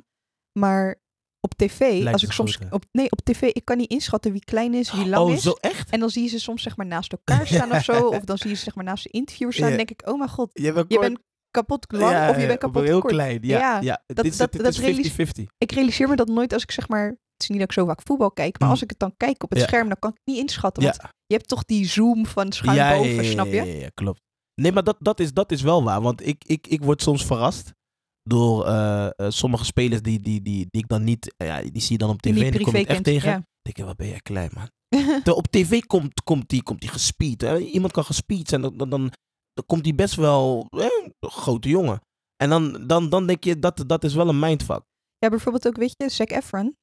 Speaker 1: Maar op tv, als
Speaker 2: ze
Speaker 1: ik soms
Speaker 2: groter.
Speaker 1: op nee op tv, ik kan niet inschatten wie klein is, wie lang
Speaker 2: oh,
Speaker 1: is.
Speaker 2: zo echt?
Speaker 1: En dan zie je ze soms zeg maar naast elkaar staan of zo, of dan zie je ze zeg maar naast de interviewers staan.
Speaker 2: Ja.
Speaker 1: Dan denk ik, oh mijn god,
Speaker 2: Je bent,
Speaker 1: je bent kapot lang of je bent kapot
Speaker 2: Heel
Speaker 1: kort.
Speaker 2: klein, ja.
Speaker 1: Ja,
Speaker 2: ja. het
Speaker 1: dat-
Speaker 2: is,
Speaker 1: dat-
Speaker 2: het
Speaker 1: dat
Speaker 2: is
Speaker 1: realis-
Speaker 2: 50-50.
Speaker 1: Ik realiseer me dat nooit als ik zeg maar, het is niet dat ik zo vaak voetbal kijk, maar
Speaker 2: Mhm.
Speaker 1: als ik het dan kijk op het
Speaker 2: Ja.
Speaker 1: scherm, dan kan ik het niet inschatten.
Speaker 2: Ja.
Speaker 1: Want je hebt toch die zoom van schuin boven, snap je?
Speaker 2: Ja, ja, ja, klopt. Nee, maar dat, dat, is, dat is wel waar. Want ik, ik, ik word soms verrast door eh, eh, sommige spelers die, die, die, die ik dan niet... eh, ja, die zie je dan op
Speaker 1: Die
Speaker 2: tv
Speaker 1: niet
Speaker 2: en die kom je
Speaker 1: privé
Speaker 2: echt
Speaker 1: kent.
Speaker 2: tegen.
Speaker 1: Ja.
Speaker 2: denk je, wat ben jij klein, man. Terwijl op tv komt, komt die, komt die gespeed. Hè? Iemand kan gespeed zijn, dan, dan, dan, dan komt die best wel hè, een grote jongen. En dan, dan, dan denk je, dat, dat is wel een mindfuck.
Speaker 1: Ja, bijvoorbeeld ook, weet je, Zac Efron.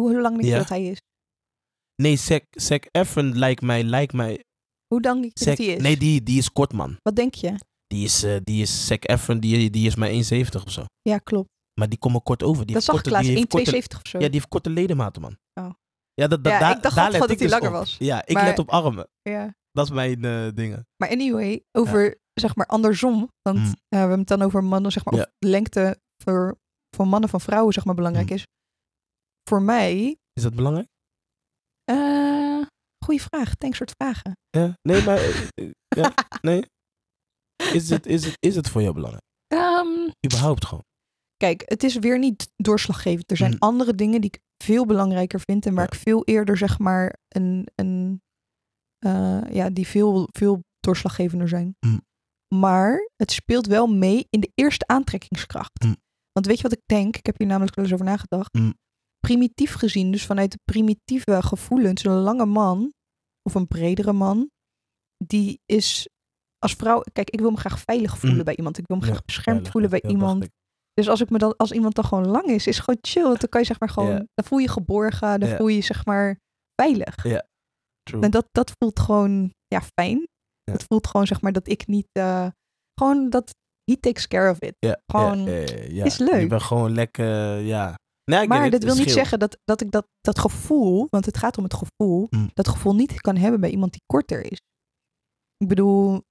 Speaker 1: Hoe, hoe lang denk je
Speaker 2: Ja.
Speaker 1: dat hij is?
Speaker 2: Nee, Zac, Zac Efron lijkt mij... Lijkt mij
Speaker 1: Hoe lang denk je
Speaker 2: Zac-
Speaker 1: dat hij is?
Speaker 2: nee, die, die is kort, man.
Speaker 1: Wat denk je?
Speaker 2: Die is, eh, die is Zac Efron, die, die is maar 1,70 of zo.
Speaker 1: Ja, klopt.
Speaker 2: Maar die komen kort over.
Speaker 1: dat
Speaker 2: Die heeft
Speaker 1: zag ik
Speaker 2: korte,
Speaker 1: laatst, 1,72
Speaker 2: die heeft korte-
Speaker 1: of zo.
Speaker 2: Ja, die heeft korte ledematen, man.
Speaker 1: Oh.
Speaker 2: Ja, dat, dat,
Speaker 1: Ja,
Speaker 2: daar-
Speaker 1: ik dacht
Speaker 2: daar
Speaker 1: altijd dat
Speaker 2: let
Speaker 1: hij
Speaker 2: dus
Speaker 1: langer
Speaker 2: op.
Speaker 1: was.
Speaker 2: Ja, ik
Speaker 1: Maar-
Speaker 2: let op armen.
Speaker 1: Ja.
Speaker 2: Dat is mijn eh, dingen.
Speaker 1: Maar anyway, over zeg maar andersom. Want
Speaker 2: Mm.
Speaker 1: eh, we hebben het dan over mannen, zeg maar,
Speaker 2: Ja.
Speaker 1: of lengte voor, van mannen van vrouwen, zeg maar, belangrijk
Speaker 2: Mm.
Speaker 1: is. Voor mij,
Speaker 2: Is dat belangrijk?
Speaker 1: eh goede vraag, thanks voor het vragen.
Speaker 2: Ja. Nee, maar eh, eh, ja, nee. Is het, is, het, is het voor jou belangrijk?
Speaker 1: Ehm,
Speaker 2: Überhaupt gewoon.
Speaker 1: kijk, het is weer niet doorslaggevend. Er zijn
Speaker 2: Mm.
Speaker 1: andere dingen die ik veel belangrijker vind en waar
Speaker 2: Ja.
Speaker 1: ik veel eerder, zeg maar, een, een eh, ja, die veel, veel doorslaggevender zijn.
Speaker 2: Mm.
Speaker 1: Maar het speelt wel mee in de eerste aantrekkingskracht.
Speaker 2: Mm.
Speaker 1: Want weet je wat ik denk? Ik heb hier namelijk wel eens over nagedacht.
Speaker 2: Mm.
Speaker 1: Primitief gezien, dus vanuit de primitieve gevoelens, een lange man of een bredere man, die is als vrouw, kijk, ik wil me graag veilig voelen
Speaker 2: Mm.
Speaker 1: bij iemand. Ik wil me
Speaker 2: Ja,
Speaker 1: graag beschermd
Speaker 2: Veilig,
Speaker 1: voelen bij
Speaker 2: dat dacht
Speaker 1: iemand.
Speaker 2: ik.
Speaker 1: Dus als, ik me dan, als iemand dan gewoon lang is, is gewoon chill. Want dan kan je zeg maar gewoon,
Speaker 2: Ja.
Speaker 1: dan voel je geborgen, dan
Speaker 2: Ja.
Speaker 1: voel je je, zeg maar veilig.
Speaker 2: True.
Speaker 1: En dat, dat voelt gewoon ja, fijn.
Speaker 2: Ja.
Speaker 1: Dat voelt gewoon zeg maar dat ik niet, eh, gewoon dat he takes care of it.
Speaker 2: Ja,
Speaker 1: gewoon-
Speaker 2: ja, ja, ja, ja.
Speaker 1: is leuk.
Speaker 2: Je bent gewoon lekker, ja. Nee, ik
Speaker 1: Maar dat
Speaker 2: weet het, het
Speaker 1: wil niet
Speaker 2: scheelt.
Speaker 1: zeggen dat, dat ik dat, dat gevoel, want het gaat om het gevoel,
Speaker 2: Mm.
Speaker 1: dat gevoel niet kan hebben bij iemand die korter is. Ik bedoel,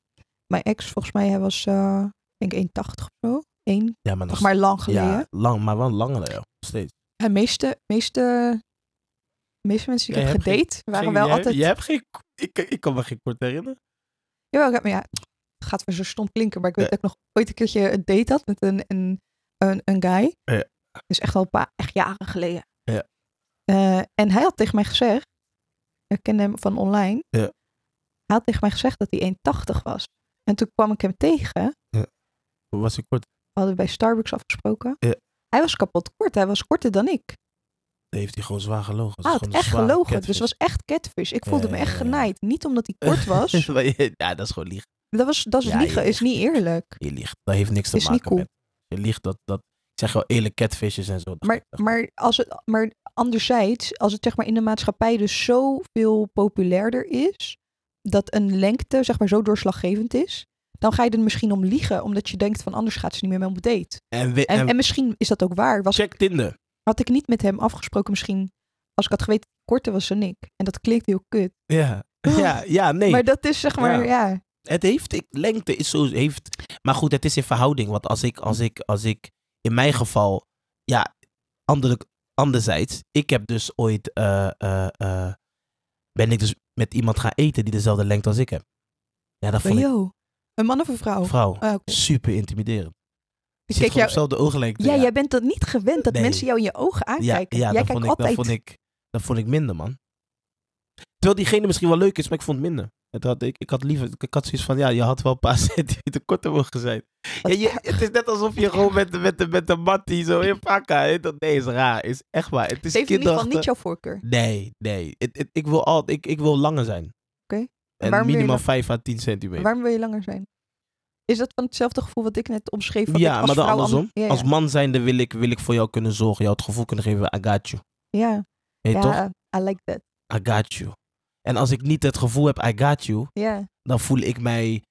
Speaker 1: mijn ex volgens mij, hij was eh, ik denk 1,80 of zo. 1,
Speaker 2: Ja, maar, nog
Speaker 1: nog maar lang geleden.
Speaker 2: ja, lang, maar wel langer, joh. Steeds.
Speaker 1: De Eh, meeste, meeste, meeste mensen die ik
Speaker 2: Jij
Speaker 1: heb
Speaker 2: hebt geen-
Speaker 1: gedate, waren
Speaker 2: Geen-
Speaker 1: wel
Speaker 2: jij-
Speaker 1: altijd...
Speaker 2: Je hebt geen... Ik, ik kan me geen kort herinneren.
Speaker 1: Jawel, ik heb- maar ja, het gaat weer zo stom klinken. Maar ik weet
Speaker 2: Ja.
Speaker 1: dat ik nog ooit een keertje een date had met een, een, een, een guy.
Speaker 2: Ja.
Speaker 1: Dat is echt al een paar echt jaren geleden.
Speaker 2: Ja.
Speaker 1: Eh, en hij had tegen mij gezegd, ik kende hem van online.
Speaker 2: Ja.
Speaker 1: Hij had tegen mij gezegd dat hij 1,80 was. En toen kwam ik hem tegen.
Speaker 2: Hoe Was ik kort?
Speaker 1: We hadden bij Starbucks afgesproken.
Speaker 2: Ja.
Speaker 1: Hij was kapot kort. Hij was korter dan ik.
Speaker 2: Dan heeft hij gewoon zwaar gelogen. Het
Speaker 1: Hij
Speaker 2: is
Speaker 1: had
Speaker 2: gewoon een
Speaker 1: echt
Speaker 2: zware
Speaker 1: gelogen. Dus
Speaker 2: catfish.
Speaker 1: het was echt catfish. Ik voelde
Speaker 2: Ja,
Speaker 1: me
Speaker 2: ja,
Speaker 1: echt
Speaker 2: ja, ja.
Speaker 1: genaaid. Niet omdat hij kort was.
Speaker 2: Maar je- ja, dat is gewoon liegen.
Speaker 1: dat was, dat is
Speaker 2: Ja,
Speaker 1: liegen.
Speaker 2: ja,
Speaker 1: Is niet eerlijk.
Speaker 2: Je liegt. Dat heeft niks te
Speaker 1: Is niet
Speaker 2: maken
Speaker 1: cool.
Speaker 2: met... Je liegt dat... dat ik zeg wel eerlijk catfishes en zo. dat
Speaker 1: Maar,
Speaker 2: gaat echt-
Speaker 1: maar, als het, maar anderzijds, als het zeg maar in de maatschappij dus zoveel populairder is, dat een lengte zeg maar zo doorslaggevend is, dan ga je er misschien om liegen, omdat je denkt van anders gaat ze niet meer met me op date.
Speaker 2: En, we-
Speaker 1: En,
Speaker 2: en
Speaker 1: en misschien is dat ook waar. Was,
Speaker 2: check Tinder.
Speaker 1: had ik niet met hem afgesproken, misschien als ik had geweten dat hij korter was dan ik. En dat klinkt heel kut.
Speaker 2: Ja. Ja, ja, nee.
Speaker 1: Oh. Maar dat is zeg maar, ja.
Speaker 2: Het heeft, ik, lengte is zo, heeft, maar goed, het is in verhouding. Want als ik, als ik, als ik, in mijn geval, ja, ander, anderzijds, ik heb dus ooit, eh, eh, eh, ben ik dus met iemand gaan eten die dezelfde lengte als ik heb. Ja, dat vond ik,
Speaker 1: Yo, een man of een vrouw?
Speaker 2: vrouw,
Speaker 1: Ah, oké.
Speaker 2: super intimiderend. Je
Speaker 1: Dus
Speaker 2: zit
Speaker 1: kijk,
Speaker 2: gewoon op
Speaker 1: jou,
Speaker 2: dezelfde ooglengte.
Speaker 1: ja, jij bent dat niet gewend, dat
Speaker 2: Nee.
Speaker 1: mensen jou in je ogen aankijken.
Speaker 2: ja,
Speaker 1: jij
Speaker 2: dat,
Speaker 1: kijkt
Speaker 2: vond ik, dat,
Speaker 1: altijd...
Speaker 2: vond ik, dat vond ik minder, man. Terwijl diegene misschien wel leuk is, maar ik vond het minder. Het had, ik, ik had liever, ik had zoiets van, ja, je had wel een paar centimeter korter mogen zijn. Ja,
Speaker 1: Wat
Speaker 2: je- het is net alsof je gewoon met, de- met, de- met de mattie zo in pakka. hè. Dat, nee, is raar. Is echt waar. Het is
Speaker 1: Ze heeft in ieder geval niet
Speaker 2: kinderachtig.
Speaker 1: jouw voorkeur.
Speaker 2: Nee, nee. Het- het- ik, wil al, ik, ik wil langer zijn.
Speaker 1: Oké. En
Speaker 2: En
Speaker 1: waarom wil je
Speaker 2: minimaal
Speaker 1: dan-
Speaker 2: 5 à 10 centimeter.
Speaker 1: Waarom wil je langer zijn? Is dat van hetzelfde gevoel wat ik net omschreef? Van dat
Speaker 2: ja,
Speaker 1: als
Speaker 2: maar dan
Speaker 1: vrouw
Speaker 2: andersom.
Speaker 1: ander- Ja, ja.
Speaker 2: Als man zijnde wil ik, wil ik voor jou kunnen zorgen. Jou het gevoel kunnen geven, I got you.
Speaker 1: ja.
Speaker 2: Weet je toch?
Speaker 1: ja, I like that.
Speaker 2: I got you. En als ik niet het gevoel heb, I got you,
Speaker 1: Ja.
Speaker 2: dan voel ik mij...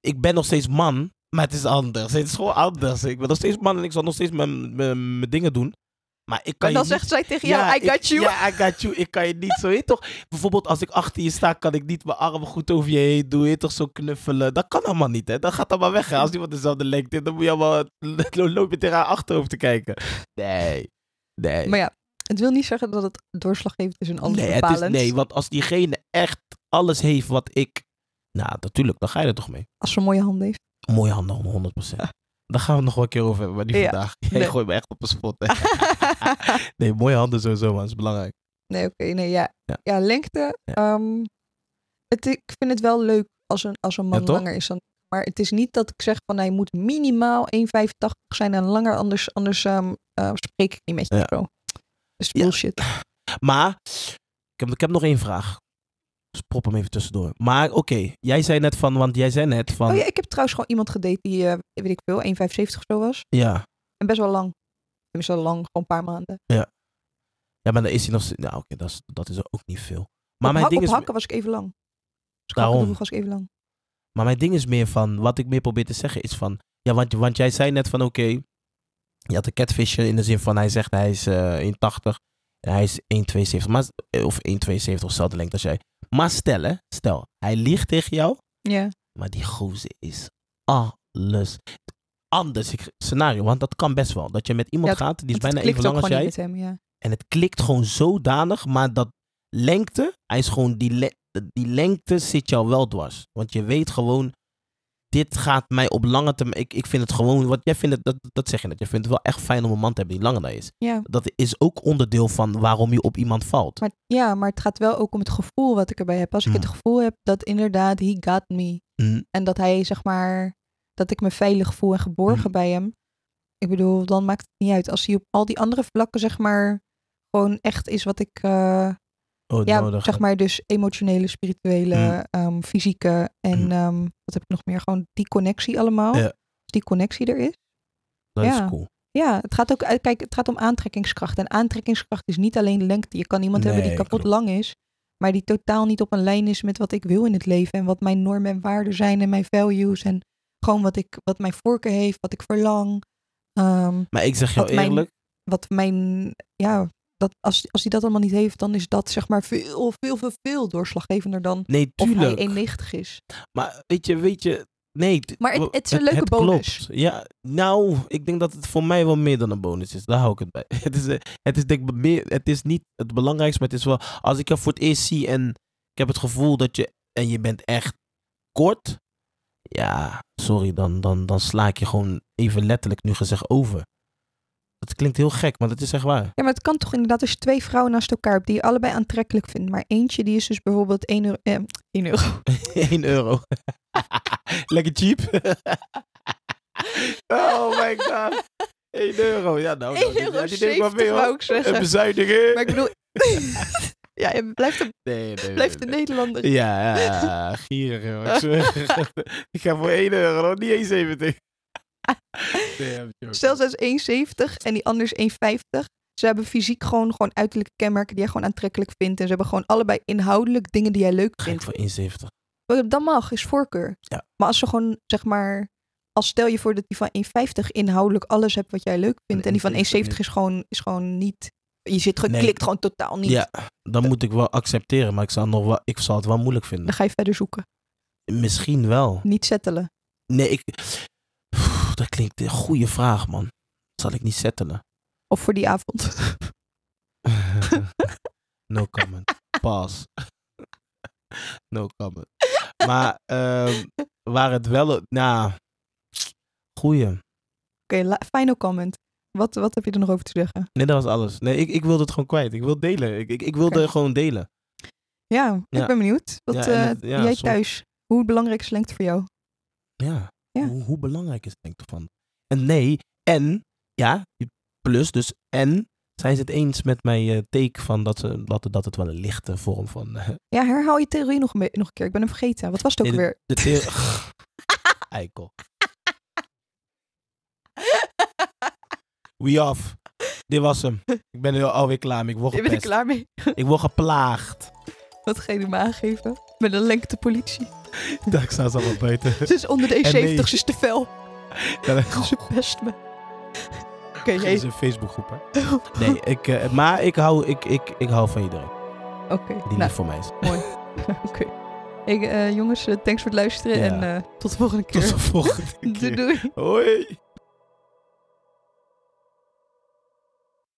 Speaker 2: Ik ben nog steeds man, maar het is anders. Het is gewoon anders. Ik ben nog steeds man en ik zal nog steeds mijn- mijn mijn dingen doen. Maar ik kan
Speaker 1: En
Speaker 2: je
Speaker 1: dan zegt
Speaker 2: niet...
Speaker 1: zij tegen jou, I
Speaker 2: ik-
Speaker 1: got you.
Speaker 2: Ja, I got you. Ik kan je niet zo, weet je toch? Bijvoorbeeld als ik achter je sta, kan ik niet mijn armen goed over je heen doen. Weet je toch, zo knuffelen. Dat kan allemaal niet, hè. Dat gaat allemaal weg, hè. Als iemand dezelfde lengte heeft, dan moet je allemaal... Dan loop je tegen haar achterhoofd te kijken. Nee. Nee.
Speaker 1: Maar ja, het wil niet zeggen dat het doorslaggevend is en alles
Speaker 2: nee, het is,
Speaker 1: bepalend.
Speaker 2: nee, want als diegene echt alles heeft wat ik... Nou, natuurlijk, dan ga je er toch mee.
Speaker 1: Als ze mooie handen heeft.
Speaker 2: Mooie handen, 100%. Daar gaan we het nog wel een keer over hebben, maar niet
Speaker 1: Ja,
Speaker 2: vandaag. Jij
Speaker 1: nee.
Speaker 2: gooit me echt op een spot, hè. nee, mooie handen sowieso, man. Dat is belangrijk.
Speaker 1: nee, oké. nee, ja.
Speaker 2: Ja.
Speaker 1: Ja, lengte.
Speaker 2: Ja.
Speaker 1: ehm, het, ik vind het wel leuk als een, als een man
Speaker 2: toch?
Speaker 1: langer is dan maar het is niet dat ik zeg van hij moet minimaal 1,85 zijn en langer, anders, anders ehm, eh, spreek ik niet met je.
Speaker 2: Ja.
Speaker 1: zo. Dus
Speaker 2: Ja.
Speaker 1: bullshit.
Speaker 2: Maar, ik heb, ik heb nog één vraag. Dus prop hem even tussendoor. Maar oké, jij zei net van, want jij zei net van,
Speaker 1: Oh
Speaker 2: ja.
Speaker 1: ja, ik heb trouwens gewoon iemand gedate die, eh, weet ik veel, 1,75 of zo was.
Speaker 2: ja.
Speaker 1: En best wel lang. Tenminste, wel lang, gewoon een paar maanden.
Speaker 2: maar dan is hij nog, steeds- nou oké, dat, is, dat is ook niet veel. Maar
Speaker 1: op
Speaker 2: mijn,
Speaker 1: hak-
Speaker 2: ding
Speaker 1: op
Speaker 2: is,
Speaker 1: hakken was ik even lang. Dus
Speaker 2: Daarom.
Speaker 1: hakken was ik even lang.
Speaker 2: maar mijn ding is meer van, wat ik meer probeer te zeggen is van, ja, want, want jij zei net van, oké, je had een catfishje in de zin van, hij zegt eh, hij is eh 1,80 en hij is 1,72, maar, of 1,72 of dezelfde lengte als jij. Maar stel, hè, stel, hij liegt tegen jou,
Speaker 1: Ja.
Speaker 2: maar die gozer is alles anders. Ik- Scenario, want dat kan best wel. Dat je met iemand
Speaker 1: Ja,
Speaker 2: gaat, die is
Speaker 1: Want
Speaker 2: bijna
Speaker 1: het klikt
Speaker 2: even lang
Speaker 1: ook
Speaker 2: als
Speaker 1: gewoon
Speaker 2: jij.
Speaker 1: niet met hem, ja.
Speaker 2: En het klikt gewoon zodanig, maar dat lengte, hij is gewoon die, le- die lengte zit jou wel dwars. Want je weet gewoon, dit gaat mij op lange termijn, ik, ik vind het gewoon, wat jij vindt, het, dat, dat zeg je net, je vindt het wel echt fijn om een man te hebben die langer dan je is.
Speaker 1: Ja.
Speaker 2: Dat is ook onderdeel van waarom je op iemand valt.
Speaker 1: Maar, ja, maar het gaat wel ook om het gevoel wat ik erbij heb. Als ik
Speaker 2: Mm.
Speaker 1: het gevoel heb dat inderdaad, he got me.
Speaker 2: Mm.
Speaker 1: En dat hij, zeg maar, dat ik me veilig voel en geborgen
Speaker 2: Mm.
Speaker 1: bij hem. Ik bedoel, dan maakt het niet uit. Als hij op al die andere vlakken, zeg maar, gewoon echt is wat ik, eh,
Speaker 2: Oh,
Speaker 1: ja,
Speaker 2: nodig. Hmm.
Speaker 1: zeg maar, dus emotionele, spirituele, ehm, fysieke en
Speaker 2: Mm.
Speaker 1: ehm, wat heb ik nog meer? Gewoon die connectie allemaal.
Speaker 2: Ja.
Speaker 1: Als die connectie er is.
Speaker 2: dat
Speaker 1: ja.
Speaker 2: is cool.
Speaker 1: Ja, het gaat ook, eh, kijk, het gaat om aantrekkingskracht. En aantrekkingskracht is niet alleen lengte. Je kan iemand hebben die
Speaker 2: Nee,
Speaker 1: kapot
Speaker 2: klopt.
Speaker 1: lang is, maar die totaal niet op een lijn is met wat ik wil in het leven. En wat mijn normen en waarden zijn en mijn values. En gewoon wat, ik, wat mijn voorkeur heeft, wat ik verlang. Ehm,
Speaker 2: Maar ik zeg jou
Speaker 1: Wat mijn-
Speaker 2: eerlijk,
Speaker 1: wat mijn, ja, dat, als, als hij dat allemaal niet heeft, dan is dat zeg maar veel, veel, veel, veel doorslaggevender dan
Speaker 2: nee,
Speaker 1: of
Speaker 2: tuurlijk.
Speaker 1: hij 1,90 is.
Speaker 2: Maar weet je, weet je, nee. t-
Speaker 1: Maar het-
Speaker 2: w-
Speaker 1: het is een leuke bonus.
Speaker 2: Klopt. Ja, nou, ik denk dat het voor mij wel meer dan een bonus is. Daar hou ik het bij. Het is, eh, het is, denk ik meer, het is niet het belangrijkste, maar het is wel, als ik jou voor het eerst zie en ik heb het gevoel dat je, en je bent echt kort, ja, sorry, dan, dan, dan sla ik je gewoon even letterlijk nu gezegd over. Dat klinkt heel gek, maar dat is echt waar.
Speaker 1: Ja, maar het kan toch inderdaad als je twee vrouwen naast elkaar hebt die je allebei aantrekkelijk vindt. Maar eentje die is dus bijvoorbeeld 1 euro. Eh, 1 euro.
Speaker 2: 1 euro. Lekker cheap. oh my god. 1 euro. Ja, nou.
Speaker 1: 1 euro 70 wou ik zeggen.
Speaker 2: bezuinigen.
Speaker 1: Maar ik bedoel... ja, je blijft een,
Speaker 2: Nee, nee,
Speaker 1: blijft een
Speaker 2: nee.
Speaker 1: Nederlander.
Speaker 2: Ja, ja, gierig. joh. Ik zweer. ik ga voor 1 euro, niet eens 70. Damn, joh.
Speaker 1: Stel, zij is 1,70 en die anders 1,50. Ze hebben fysiek gewoon, gewoon uiterlijke kenmerken die jij gewoon aantrekkelijk vindt. En ze hebben gewoon allebei inhoudelijk dingen die jij leuk
Speaker 2: Ga ik
Speaker 1: vindt.
Speaker 2: voor 1,70.
Speaker 1: Wat dan mag, is voorkeur.
Speaker 2: Ja.
Speaker 1: Maar als ze gewoon, zeg maar... Als stel je voor dat die van 1,50 inhoudelijk alles hebt wat jij leuk vindt. En die van 1,70
Speaker 2: niet.
Speaker 1: is gewoon, is gewoon niet... Je zit gewoon,
Speaker 2: Nee.
Speaker 1: klikt gewoon totaal niet.
Speaker 2: Ja, dan moet ik wel accepteren, maar ik zal, nog wel, ik zal het wel moeilijk
Speaker 1: Dan
Speaker 2: vinden.
Speaker 1: ga je verder zoeken.
Speaker 2: Misschien wel.
Speaker 1: Niet settelen.
Speaker 2: Nee, ik... Oeh, dat klinkt een goede vraag, man. Zal ik niet settelen.
Speaker 1: Of voor die avond.
Speaker 2: no comment. Pas. no comment. Maar ehm, waar het wel... Nou, goeie.
Speaker 1: Oké, la- final comment. Wat, wat heb je er nog over te zeggen?
Speaker 2: Nee, dat was alles. Nee, ik, ik wilde het gewoon kwijt. Ik wil delen. Ik, ik, ik wilde
Speaker 1: Oké.
Speaker 2: gewoon delen.
Speaker 1: Ja, ik
Speaker 2: Ja.
Speaker 1: ben benieuwd. Wat,
Speaker 2: Ja, en
Speaker 1: eh,
Speaker 2: het- ja,
Speaker 1: jij
Speaker 2: soms-
Speaker 1: thuis, hoe belangrijk is lengte voor jou?
Speaker 2: Ja.
Speaker 1: Ja.
Speaker 2: Hoe, hoe belangrijk is het denk ik ervan? En nee, en... Ja, plus dus en... Zijn ze het eens met mijn eh, take van dat, ze, dat, dat het wel een lichte vorm van... eh,
Speaker 1: Ja, herhaal je theorie nog een, be- nog een keer. Ik ben hem vergeten. Wat was het ook
Speaker 2: Nee,
Speaker 1: weer?
Speaker 2: de the- Eikel. We off. Dit was hem. Ik ben er alweer klaar mee. Ik word
Speaker 1: Je bent er
Speaker 2: gepest.
Speaker 1: klaar mee.
Speaker 2: Ik word geplaagd.
Speaker 1: Wat ga je hem aangeven? Met een lengtepolitie.
Speaker 2: Ik sta ze allemaal buiten.
Speaker 1: Ze is onder de
Speaker 2: En Oh.
Speaker 1: E70,
Speaker 2: nee.
Speaker 1: ze is te fel.
Speaker 2: Dat
Speaker 1: Ze pest me. Oké, Oh. hey.
Speaker 2: is een Facebookgroep, hè? Nee, ik, eh, maar ik hou, ik, ik, ik hou van iedereen
Speaker 1: Oké,
Speaker 2: die
Speaker 1: nou,
Speaker 2: lief voor mij is.
Speaker 1: oké. Hey, eh, jongens, eh, thanks voor het luisteren
Speaker 2: Ja.
Speaker 1: en eh, tot de volgende keer.
Speaker 2: Tot de volgende
Speaker 1: doei
Speaker 2: keer.
Speaker 1: doei.
Speaker 2: Hoi.